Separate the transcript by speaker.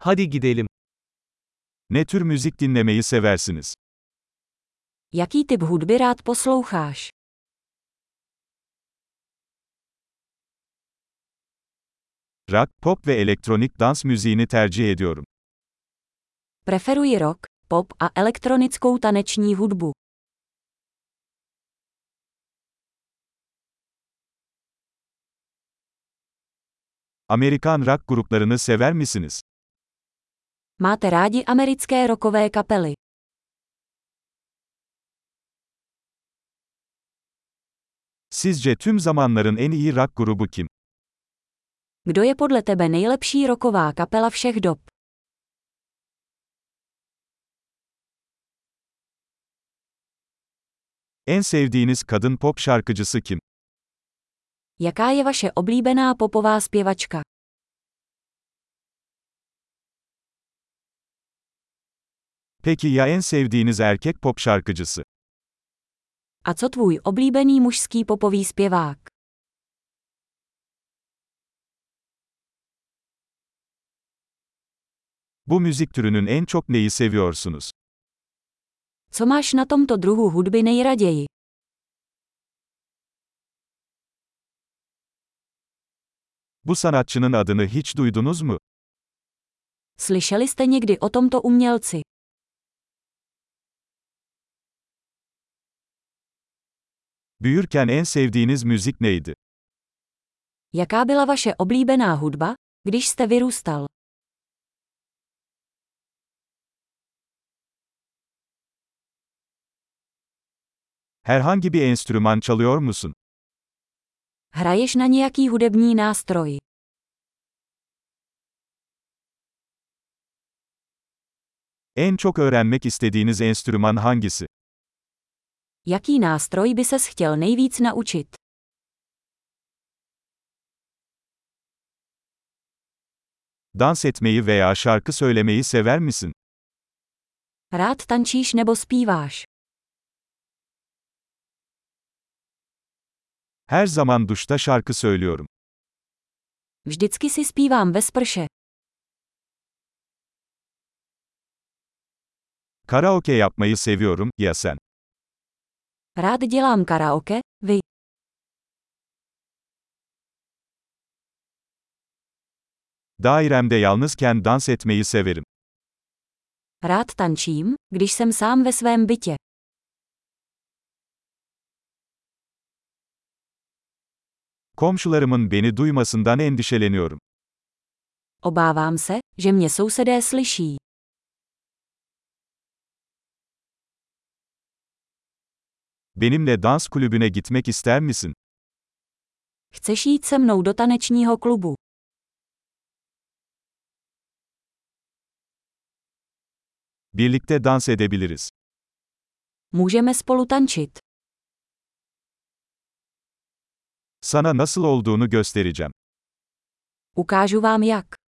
Speaker 1: Hadi gidelim. Ne tür müzik dinlemeyi seversiniz?
Speaker 2: Jaký typ hudby rád posloucháš?
Speaker 1: Rock, pop ve elektronik dans müziğini tercih ediyorum.
Speaker 2: Preferuji rock, pop a elektronickou taneční hudbu.
Speaker 1: Amerikan rock gruplarını sever misiniz?
Speaker 2: Máte rádi americké rockové kapely?
Speaker 1: Sizce tüm zamanların en iyi rock grubu kim?
Speaker 2: Kdo je podle tebe nejlepší roková kapela všech dob?
Speaker 1: En sevdiğiniz kadın pop şarkıcısı kim?
Speaker 2: Jaká je vaše oblíbená popová zpěvačka?
Speaker 1: Peki ya en sevdiğiniz erkek pop şarkıcısı?
Speaker 2: A co tvůj oblíbený mužský popový zpěvák?
Speaker 1: Bu müzik türünün en çok neyi seviyorsunuz?
Speaker 2: Co máš na tomto druhu hudby nejraději?
Speaker 1: Bu sanatçının adını hiç duydunuz mu?
Speaker 2: Slyšeli jste někdy o tomto umělci?
Speaker 1: Büyürken en sevdiğiniz müzik neydi?
Speaker 2: Jaká byla vaše oblíbená hudba, když jste vyrůstal?
Speaker 1: Herhangi bir enstrüman çalıyor musun?
Speaker 2: Hraješ na nějaký hudební nástroj?
Speaker 1: En çok öğrenmek istediğiniz enstrüman hangisi?
Speaker 2: Jaký nástroj by ses chtěl nejvíc naučit?
Speaker 1: Dans etmeyi veya şarkı söylemeyi sever misin?
Speaker 2: Rád tančíš nebo zpíváš?
Speaker 1: Her zaman duşta şarkı söylüyorum.
Speaker 2: Vždycky si zpívám ve sprše.
Speaker 1: Karaoke yapmayı seviyorum, ya sen?
Speaker 2: Rád dělám karaoke, vy.
Speaker 1: Dairemde yalnızken dans etmeyi severim.
Speaker 2: Rád tančím, když jsem sám ve svém bytě.
Speaker 1: Komşularımın beni duymasından endişeleniyorum.
Speaker 2: Obávám se, že mě sousedé slyší.
Speaker 1: Benimle dans kulübüne gitmek ister misin?
Speaker 2: Chceš jít se mnou do tanečního klubu?
Speaker 1: Birlikte dans edebiliriz.
Speaker 2: Můžeme spolu tančit.
Speaker 1: Sana nasıl olduğunu göstereceğim.
Speaker 2: Ukážu vám jak.